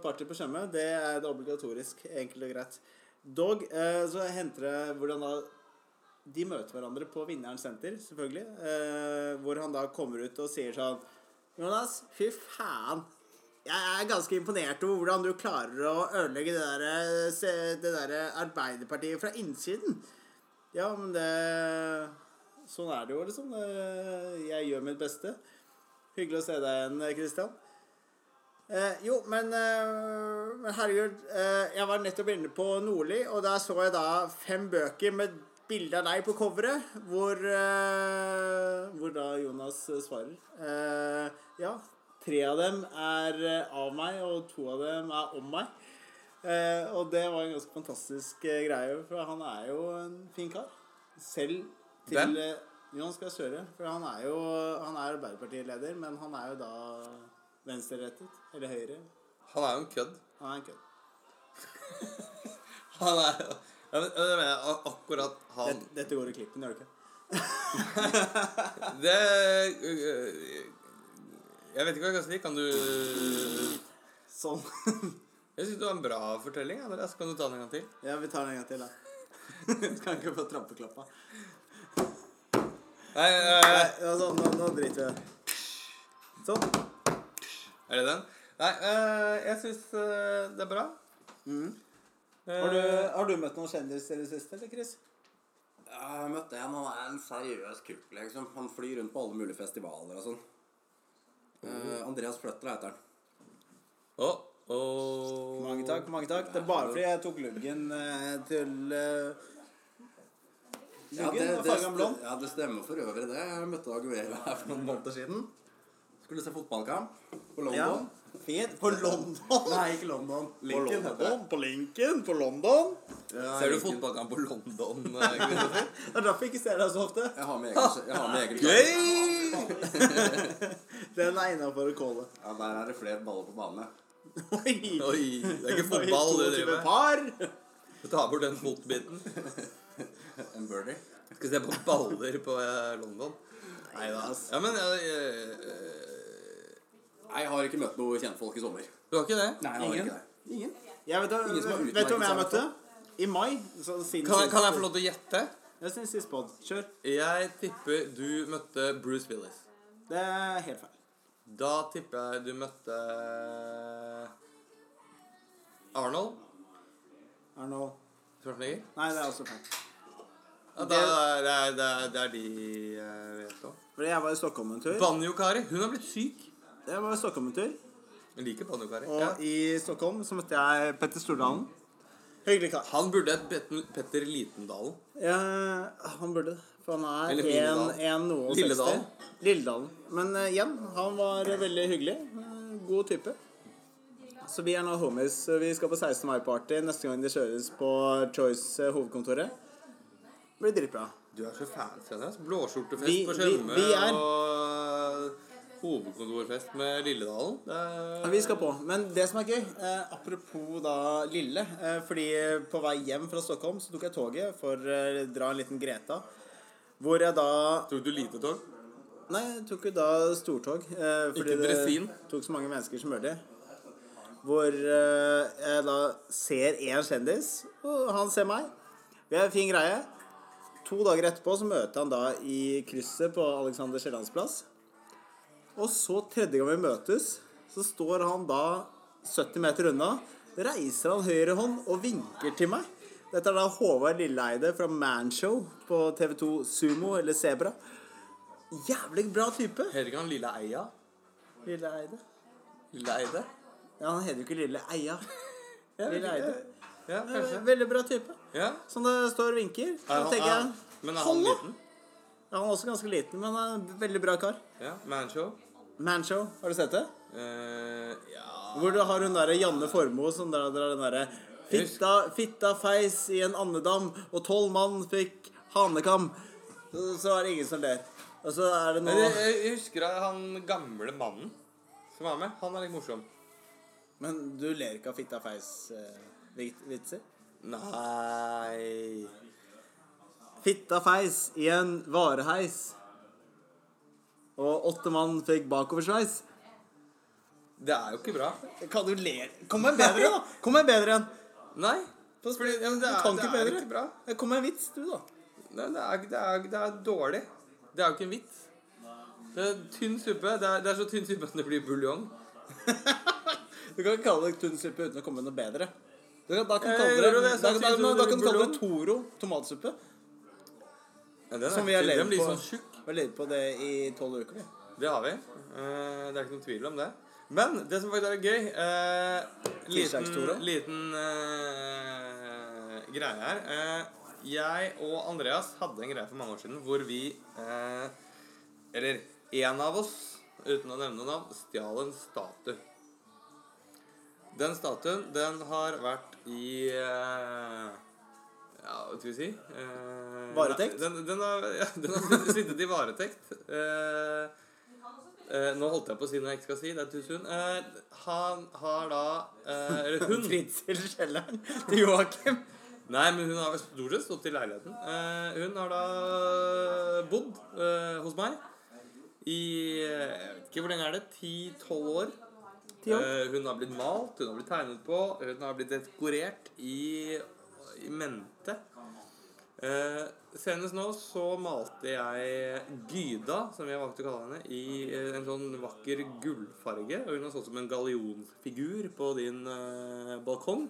party på Tjøme, det er det obligatorisk. Enkelt og greit. Dog eh, så henter det hvordan da De møter hverandre på Vinneren senter, selvfølgelig. Eh, hvor han da kommer ut og sier sånn Jonas, fy faen. Jeg er ganske imponert over hvordan du klarer å ødelegge det der, eh, se- det der Arbeiderpartiet fra innsiden. Ja, men det Sånn er det jo, liksom. Eh, Jeg gjør mitt beste. Hyggelig å se deg igjen, Kristian. Eh, jo, men, eh, men herregud, eh, jeg var nettopp inne på Nordli, og der så jeg da fem bøker med bilde av deg på coveret, hvor, eh, hvor da Jonas eh, svarer. Eh, ja, tre av dem er eh, av meg, og to av dem er om meg. Eh, og det var en ganske fantastisk eh, greie, for han er jo en fin kar. Selv til
Hvem?
eh, Jonas Gahr Støre. For han er jo han er Arbeiderpartileder, men han er jo da venstrerettet. Eller høyre.
Han er jo en kødd.
Han er en kødd.
Han er jo ja, men, jeg mener, ak- akkurat han
Dette, dette går i klippen, gjør det ikke?
Det øh, Jeg vet ikke hva jeg kan si. Kan du Jeg
Sånn.
syns det var en bra fortelling. Andreas. Kan du ta den en gang til?
ja, vi tar den en gang til, da. Du kan ikke få trampeklappa.
Nei, øh,
Nei, altså, nå, nå driter vi i det. Sånn.
er det den? Nei, øh, jeg syns det er bra.
Har du,
Eh,
har du møtt noen kjendiser i det siste, eller, Chris?
Jeg møtte en, han er en seriøs kuk, liksom. Han flyr rundt på alle mulige festivaler og sånn. Eh,
Mm.
Andreas Fløtter heter han.
Å, å.
Mange takk, mange takk. Det er bare fordi jeg tok luggen eh, til eh,
Ja,
Luggen og fargen blond. Mm.
ja, det stemmer for øvrig, det. Jeg møtte Aguera her for noen måneder siden. Skulle se fotballkamp på
Ja.
London.
Fint. På London.
Nei, ikke London. Lincoln
på
heter det.
London. På Lincoln. På London.
Ja,
Ser du
Lincoln.
fotballkamp på London? øh, Kristoffer?
Det er derfor jeg ikke ser deg så ofte.
Jeg har med egen, jeg har med egen
Gøy!
Den er innafor callet.
Ja, der er det flere baller på banen.
Oi!
Oi, det er ikke fotball du driver med.
Par.
Ta bort den fotbiten.
En birdie.
Skal se på baller på eh, London.
Nei da, ass.
Ja, men jeg, eh,
Nei, Jeg har ikke møtt noe kjentfolk i sommer.
Du har ikke det?
Nei, jeg har
Ingen.
ikke det.
Ingen. Jeg vet,
Ingen som har
vet du hvem jeg
utmerket seg,
møtte? I mai. Så siden
Kan, jeg- kan jeg få lov til å gjette?
Jeg synes sist pod. Kjør.
Jeg tipper du møtte Bruce Willis.
Det er helt feil.
Da tipper jeg du møtte eh, Arnold
Er nå
Schwarzenegger.
Nei, det er også feil.
Ja, det, er- det, er- det, er- det er de eh, jeg vet om.
Fordi jeg var i Stockholm en tur.
Banjo-Kari. Hun har blitt syk.
Jeg var i Stockholm en tur.
Jeg liker Banjo-Kari.
Og
Ja.
i Stockholm så møtte jeg Petter Stordalen. Hyggelig kar.
Han burde hett Petten- Petter Litendalen.
Ja, han burde det. For han
Eller
er
Lilledal.
1,60.
Lilledal.
Lilledalen. Men eh, igjen, han var veldig hyggelig. eh, god type. Så vi er nå homies. Vi skal på 16. mai-party neste gang det kjøres på Choice eh, hovedkontoret. Det blir dritbra.
Du er så fancy, Andreas. Blåskjortefest
Vi-
på
vi-
Tjøme
vi er-
og hovedkontorfest med Lilledalen. Det
Ja,
er-
Vi skal på. Men det som er gøy, eh, apropos da Lille eh, Fordi på vei hjem fra Stockholm så tok jeg toget for å eh, dra en liten Greta. Hvor jeg da
Tok du lite tog?
Nei, jeg tok jo da stortog. Eh, fordi
Ikke Bresin?
det tok så mange mennesker som mulig. Hvor eh, jeg da ser én kjendis, og han ser meg. Det er en fin greie. To dager etterpå så møter han da i krysset på Alexander Kiellands plass. Og så tredje gang vi møtes, så står han da 70 meter unna. Reiser han høyre hånd og vinker til meg. Dette er da Håvard Lilleeide fra Manshow på TV2 Sumo eller Sebra. Jævlig bra type.
Heter ikke han Lille Eia?
Lilleeide.
Lille Eide?
Ja, han heter jo ikke Lille Eia.
Ja,
Lille Eide. Det
Ja,
er
kanskje.
en Veldig bra type.
Ja.
Som det står og vinker. Så
Er han,
tenker jeg
er, men er
Hold
han
da!
liten?
ja, Han er også ganske liten, men er en veldig bra kar.
Ja. Manshow?
Manshow, har du sett det?
Eh, ja
Hvor du har hun derre Janne Formoe som drar drar den derre fitta, fitta feis i en andedam, og tolv mann fikk hanekam. Så så er det ingen som ler. Og så er det
Men
noe
jeg, jeg husker at han gamle mannen som var med. Han er litt morsom.
Men du ler ikke av fitta eh, feis-vitser?
Nei
Fitta feis i en vareheis. Og åtte mann fikk bakoversveis.
Det er jo ikke bra.
Kan du le Kom med en bedre, da! Kom med en bedre en.
Nei.
På
Fordi, ja, men det
du
er,
kan
det
ikke
er
bedre.
ikke bra.
Kom med en vits, du, da.
Nei, det, er, det, er, det er dårlig. Det er jo ikke en vits. Det er tynn suppe. Det er, det er så tynn suppe at det blir buljong.
Du kan ikke kalle det tunnsuppe uten å komme med noe bedre. Du kan, da kan
Jeg
du kalle
gjorde
det,
det, så
da,
jeg
da,
synes
da, da
det
kan du kalle det
burde
Toro tomatsuppe.
Ja, den er
Som vi
ikke-
har levd
Den blir
på.
sånn tjukk.
Vi har levd på det i tolv uker. vi.
Det har vi. Eh, det er ikke noen tvil om det. Men det som faktisk er gøy eh, Liten,
Tirsdagstora.
liten eh, greie her. Eh, jeg og Andreas hadde en greie for mange år siden hvor vi eh, Eller en av oss, uten å nevne navn, stjal en statue. Den statuen, den har vært i eh, ja, hva skal vi si? Eh,
Varetekt?
Den, den, har, ja, den har sitt- sittet i varetekt. Eh, eh, nå holdt jeg på å si noe jeg ikke skal si. Det er too soon. Eh, han har da eh, Eller hun
Fritzel Kjelleren til Joakim.
Nei, men hun har vel stort sett stått i leiligheten. Eh, hun har da bodd eh, hos meg i eh, Jeg vet ikke hvor lenge er det? 10-12 år.
Ti år.
Eh, hun har blitt malt, hun har blitt tegnet på, hun har blitt dekorert i, i mente. Eh, senest nå så malte jeg Gyda, som jeg valgte å kalle henne, i eh, en sånn vakker gullfarge. Og hun har stått som en gallionsfigur på din eh, balkong.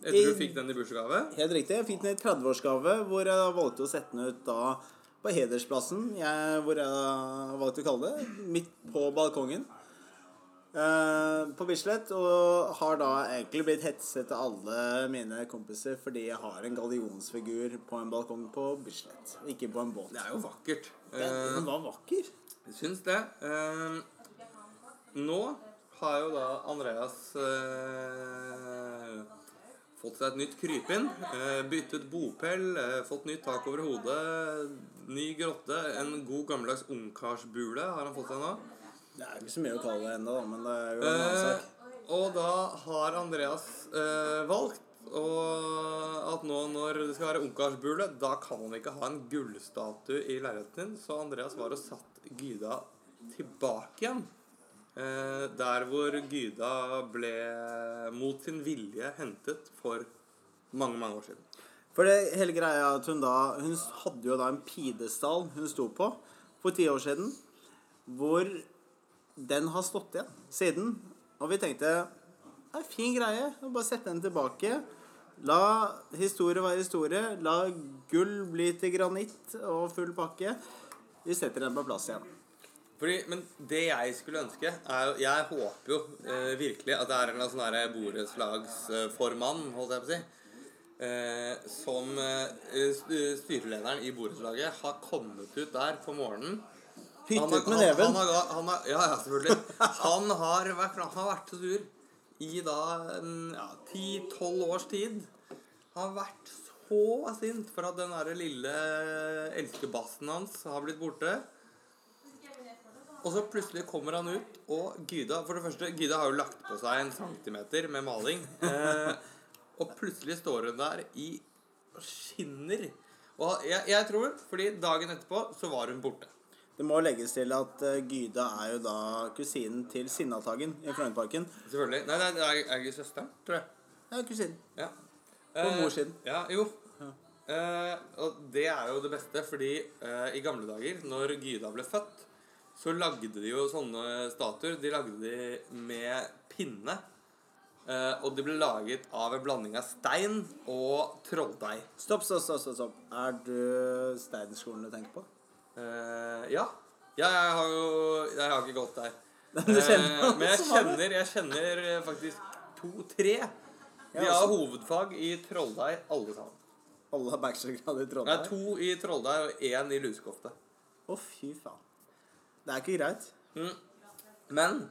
Etter
I-
du fikk den i bursdagsgave.
Helt riktig. Jeg fikk den i 30-årsgave, hvor jeg da valgte å sette den ut da på Hedersplassen, jeg, hvor jeg da valgte å kalle det. Midt på balkongen eh, på Bislett. Og har da egentlig blitt hetset av alle mine kompiser fordi jeg har en gallionsfigur på en balkong på Bislett, ikke på en båt.
Det er jo vakkert.
Den,
Eh,
den var vakker.
Jeg syns det. Ehm, nå har jo da Andreas eh, fått seg et nytt krypinn. eh, byttet bopel, eh, fått nytt tak over hodet, ny grotte. En god gammeldags ungkarsbule har han fått seg nå.
Det er jo ikke så mye å kalle det ennå, da, men det er jo en annen
Eh,
sak.
og da har Andreas eh, valgt og at nå når det skal være ungkarsbule, da kan han ikke ha en gullstatue i leiligheten sin. Så Andreas var og satt Gyda tilbake igjen. Eh, der hvor Gyda ble mot sin vilje hentet for mange, mange år siden.
For det hele greia er at hun da Hun hadde jo da en pidestall hun sto på for ti år siden, hvor den har stått igjen siden. Og vi tenkte det er en fin greie. å Bare sette den tilbake. La historie være historie. La gull bli til granitt og full pakke. Vi setter den på plass igjen.
Fordi, men det jeg skulle ønske er, jo- Jeg håper jo eh, virkelig at det er en eller annen sånn her borettslagsformann, holdt jeg på å si, eh, som eh, st- styrelederen i borettslaget har kommet ut der på morgenen. Han har,
Hyttet med
han, han,
neven.
har, ga- han har, ja, ja, selvfølgelig. Han har vært, han har vært så sur i da en, ja, 10-12 års tid. Han har vært så sint for at den der lille elskebassen hans har blitt borte. Og så plutselig kommer han ut, og Gyda For det første, Gyda har jo lagt på seg en centimeter med maling. Eh, og plutselig står hun der i og skinner. Og jeg, jeg tror, fordi dagen etterpå så var hun borte.
Det må legges til at eh, Gyda er jo da kusinen til Sinnataggen i Frognerparken.
Selvfølgelig. Nei, nei det er, er ikke søsteren, tror jeg.
Ja, kusinen.
Ja.
På mors siden.
Ja, jo. Eh, og det er jo det beste, fordi eh, i gamle dager, når Gyda ble født, så lagde de jo sånne statuer. De lagde de med pinne. Eh, og de ble laget av en blanding av stein og trolldeig.
Stopp, stopp, stopp. stopp, stopp. Er du Steinerskolen du tenker på?
Eh, ja. ja, jeg har jo Jeg har ikke gått der.
Du kjenner
Eh, men jeg
som var det.
kjenner, jeg kjenner eh, faktisk to-tre. De
altså.
har hovedfag i Trolldeig, alle sammen.
Alle har bachelorgrad i
Nei,
Trondheim.
to i Trolldeig og én i Lusekofte.
Å, fy faen. Det er ikke greit.
Men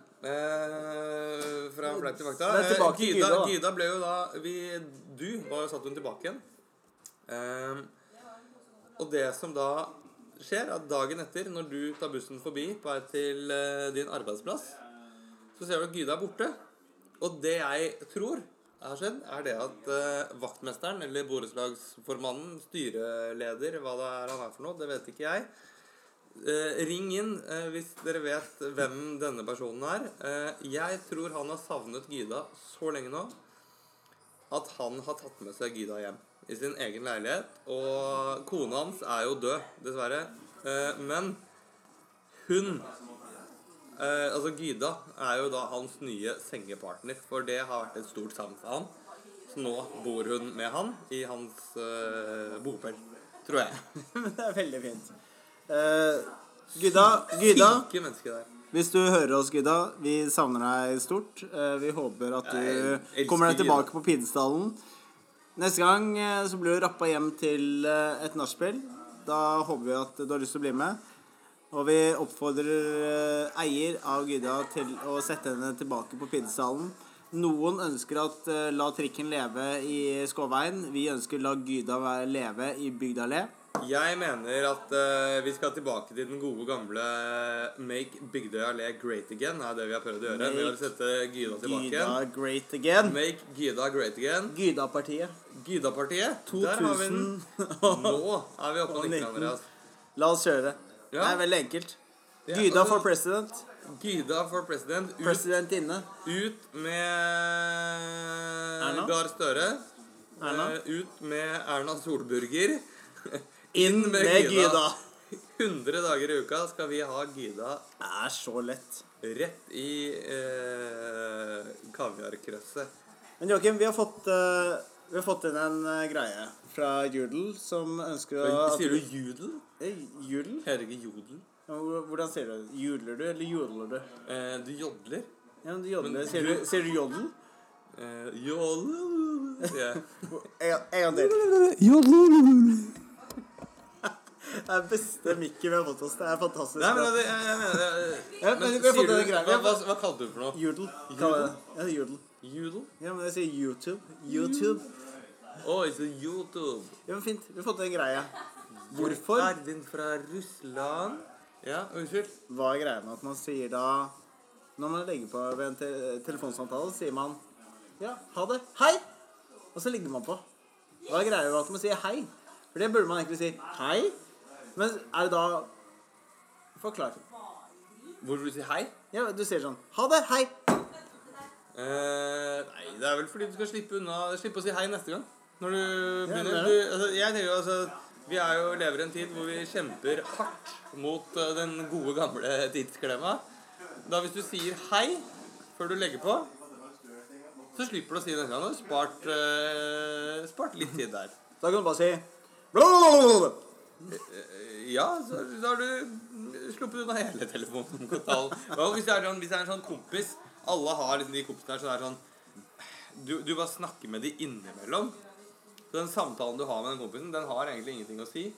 eh, fra fleip til fakta
Det er tilbake
eh,
til
Gyda,
Gyda, da.
Gyda ble jo da vi, Du var jo satt hun tilbake igjen. Eh, og det som da skjer, er at dagen etter, når du tar bussen forbi på vei til eh, din arbeidsplass, så ser du at Gyda er borte. Og det jeg tror har skjedd, er det at eh, vaktmesteren eller borettslagsformannen, styreleder, hva det er han er for noe, det vet ikke jeg. Eh, ring inn eh, hvis dere vet hvem denne personen er. Eh, jeg tror han har savnet Gyda så lenge nå at han har tatt med seg Gyda hjem i sin egen leilighet. Og kona hans er jo død, dessverre. Eh, men hun eh, Altså Gyda er jo da hans nye sengepartner, for det har vært et stort savn for han. Så nå bor hun med han i hans eh, bopel, tror jeg.
Det er veldig fint. Eh, Gudda, Gudda,
Ikke menneske der.
hvis du hører oss, Gudda, vi savner deg stort. Eh, vi håper at
Jeg
du
elsker
kommer deg tilbake
Gyda.
på Pidestallen. Neste gang eh, så blir du rappa hjem til eh, et nachspiel. Da håper vi at du har lyst til å bli med. Og vi oppfordrer eh, eier av Gudda til å sette henne tilbake på Pidestallen. Noen ønsker at eh, la trikken leve i Skåveien. Vi ønsker la Gyda være- leve i Bygdallé.
Jeg mener at eh, vi skal tilbake til den gode gamle eh, Make Bygdøya le great again. er det vi har prøvd å gjøre. Vi har
Make
sette Gyda tilbake
Gyda
igjen.
great again.
Make Gyda great again.
Gyda-partiet.
Gyda-partiet. Der har vi den.
2000
Nå er vi oppe på 19, Andreas.
La oss kjøre det. Det
Ja.
er veldig enkelt.
Det er- altså- Mm.
Gyda for president.
Gyda for president. Ut,
President inne.
ut med
Erna?
Gahr Støre.
Erna?
Eh, Ut med Erna Solburger.
Inn med Gyda.
100 dager i uka skal vi ha Gyda
Det er så lett.
Rett i eh, kaviarkrøsset.
Men Joakim, vi har fått, eh, vi har fått inn en eh, greie fra Judel som ønsker å at-
Sier du judel?
Eh, Judel?
Heter det ikke jodel?
Ja, hvor- Hvordan sier du det? Judler du, eller jodler du?
Eh, du jodler?
Ja, men du jodler.
Men
Sier
du-
du, sier du jodel?
Eh, jodel sier jeg.
En en gang til. Det er beste mikken vi har fått oss. Det er fantastisk.
Nei, men
bra.
det, jeg, jeg mener det eh,
Ja, men vi har
sier
fått
du-
en greie. Vi
Hva,
har
hva,
fått-
hva kalte du for noe?
Jodel. kaller jeg det. Ja, jodel.
Jodel?
Ja, men jeg sier YouTube. YouTube.
Å, it's a YouTube.
Ja, men fint. Vi har fått en greie. Hvorfor
Ervin fra Russland. Ja, unnskyld.
Hva er greia med at man sier da Når man legger på ved en te telefonsamtale, sier man Ja, ha det. Hei! Og så ligger man på. Hva er greia med at man sier hei? For det burde man egentlig si hei. Men er det da Forklar.
Hvorfor du sier hei?
Ja, du sier sånn Ha det. Hei.
Eh, nei, det er vel fordi du skal slippe unna Slippe å si hei neste gang. Når du begynner
det er
du, altså, Jeg tenker jo altså Vi er jo lever i en tid hvor vi kjemper hardt mot eh, den gode, gamle tidsklemma. Da hvis du sier hei før du legger på, så slipper du å si det neste gang. Da har du spart, eh, spart litt tid der.
Da kan du bare si blablabla.
Ja, så da har du sluppet unna hele telefonkontallen. Og hvis det er sånn, hvis det er en sånn kompis Alle har liksom de kompisene her som er sånn du, du bare snakker med de innimellom. Så den samtalen du har med den kompisen, den har egentlig ingenting å si.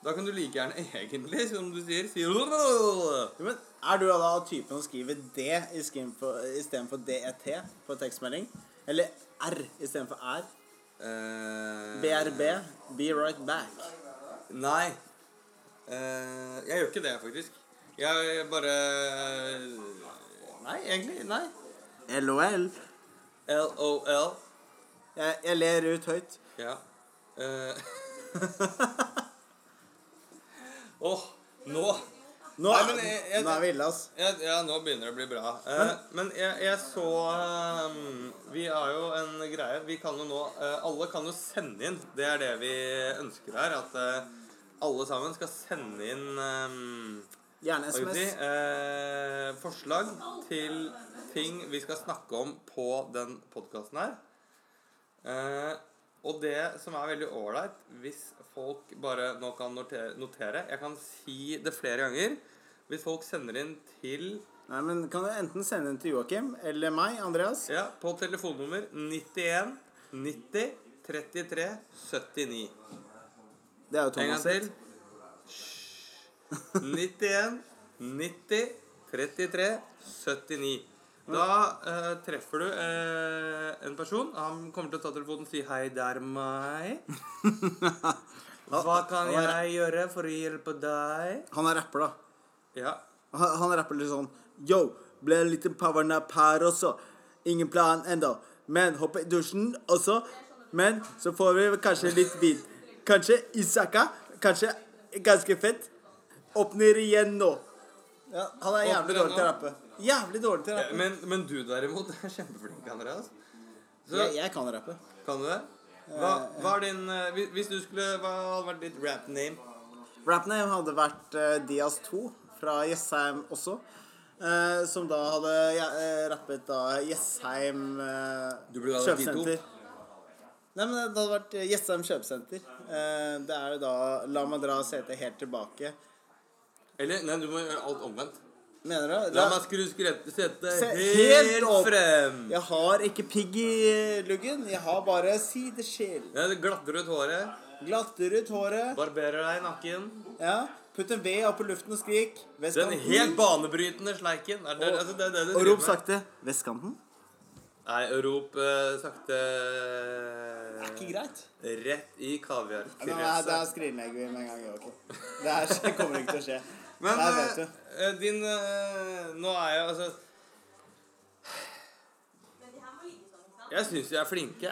Da kan du like gjerne egentlig, som du sier, si eh,
Jo, Men er du da av typen som skriver D istedenfor DET E på tekstmelding? Eller R istedenfor R?
Eh,
BRB? Be right back.
Nei. Eh, jeg gjør ikke det, faktisk. Jeg bare Nei, egentlig. Nei.
LOL.
LOL.
Jeg, jeg ler ut høyt.
Ja. Eh. Åh, nå
Nå,
Nei, men jeg- jeg-
nå er vi ille, ass.
ja, ja, nå begynner det å bli bra. Eh, men jeg, jeg så ehm, Vi har jo en greie. Vi kan jo nå eh, Alle kan jo sende inn. Det er det vi ønsker her. At eh, alle sammen skal sende inn ehm,
Gjerne
hva skal vi si,
SMS.
eh, forslag til ting vi skal snakke om på den podkasten her. Eh, og det som er veldig ålreit, hvis folk bare nå kan notere, notere Jeg kan si det flere ganger, Hvis folk sender inn til
Nei, men kan du enten sende den til Joakim eller meg, Andreas?
Ja, på telefonnummer 91 90 33 79.
Det er jo
En gang
Thomas
til.
sitt.
91 90 33 79. Da eh, treffer du eh, en person. Han kommer til å ta telefonen og si 'Hei, det er meg'. Hva kan
han er-
jeg gjøre for å hjelpe deg?
Han er rapper, da.
Ja.
Han, han rapper litt sånn Yo, ble en liten powernap her også. Ingen plan enda. Men hoppe i dusjen også. Men så får vi kanskje litt vin. Kanskje Isaka. Kanskje ganske fett. Åpner igjen nå. Ja, han er jævlig
Åpner
dårlig til å
igjen
rappe. Jævlig dårlig til å rappe.
Eh, Men, men du derimot er kjempeflink, Andreas. Så
Jeg, jeg kan rappe.
kan du det? Hva, hva er din eh, hvis- Hvis du skulle Hva hadde vært ditt rap name?
Rapname hadde vært eh, Diaz 2 fra Jessheim også. eh, som da hadde eh, rappet da Jessheim eh,
Du burde ha vært Tito.
Nei, men det hadde vært eh, Jessheim kjøpesenter. Eh, det er jo da La meg dra setet helt tilbake.
Eller nei, du må gjøre alt omvendt.
Mener du?
La meg skru skrette sette
Se helt
helt
opp.
frem.
Jeg har ikke pigg i luggen. Jeg har bare sideskjell.
Ja, du glatter ut håret,
Glatter ut håret.
barberer deg i nakken.
Ja. Putt en ved opp i luften og skrik.
Den
Vestkanten.
helt banebrytende sleiken. Er det, altså, det, er det du
og
driver
rop
med.
sakte. Vestkanten?
Nei, rop eh, sakte eh,
Det er ikke greit.
Rett i kaviar.
Nå, er-
altså.
der skrinlegger vi med en gang. Joakim. Det her skje- kommer ikke til å skje.
Men
Der vet du.
eh, eh, din eh, Nå er jeg altså Jeg syns vi er flinke.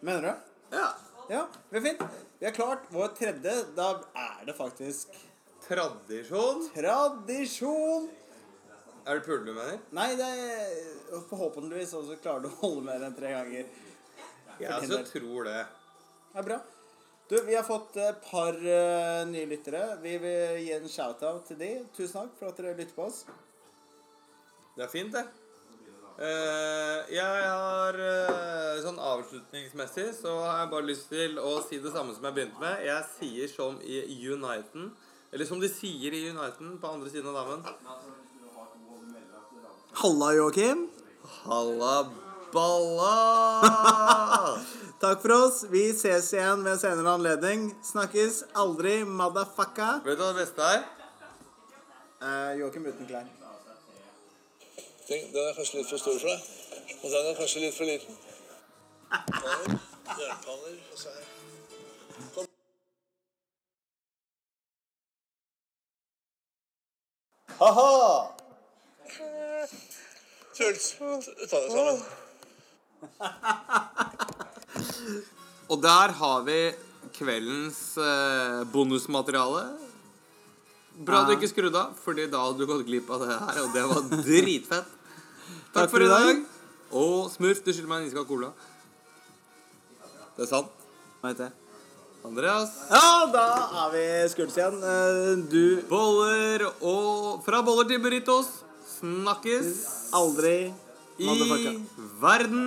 Mener du?
Ja.
Ja, det er fint. Vi har klart vår tredje. Da er det faktisk
Tradisjon.
tradisjon.
Er det pule du mener?
Nei, det er forhåpentligvis også klarer du å holde med den tre ganger.
Jeg altså tror det.
Det er bra. Du, vi har fått et par eh, nye lyttere. Vi vil gi en shout-out til de. Tusen takk for at dere lytter på oss.
Det er fint, det. Eh, jeg har eh, sånn avslutningsmessig så har jeg bare lyst til å si det samme som jeg begynte med. Jeg sier som i Uniten. Eller som de sier i Uniten på andre siden av dammen.
Halla, Joakim.
Halla balla!
Takk for oss. Vi ses igjen ved senere anledning. Snakkes aldri, motherfucka.
Vet du hva det beste er?
Eh, Joakim uten klær.
Tenk, Den er kanskje litt for stor for deg. Og den er kanskje litt for liten. Panner, Jernpanner. og så her.
Ha-ha!
Truls, ta deg sammen.
Og der har vi kveldens eh, bonusmateriale. Bra du ikke skrudde av, Fordi da hadde du gått glipp av det her, og det var dritfett. Takk, for i dag. Og Smurf, du skylder meg en iskald cola. Det er sant.
Hva heter det?
Andreas.
Ja, da er vi skuldre igjen. Eh, Du
Boller og Fra boller til burritos snakkes
aldri
i verden.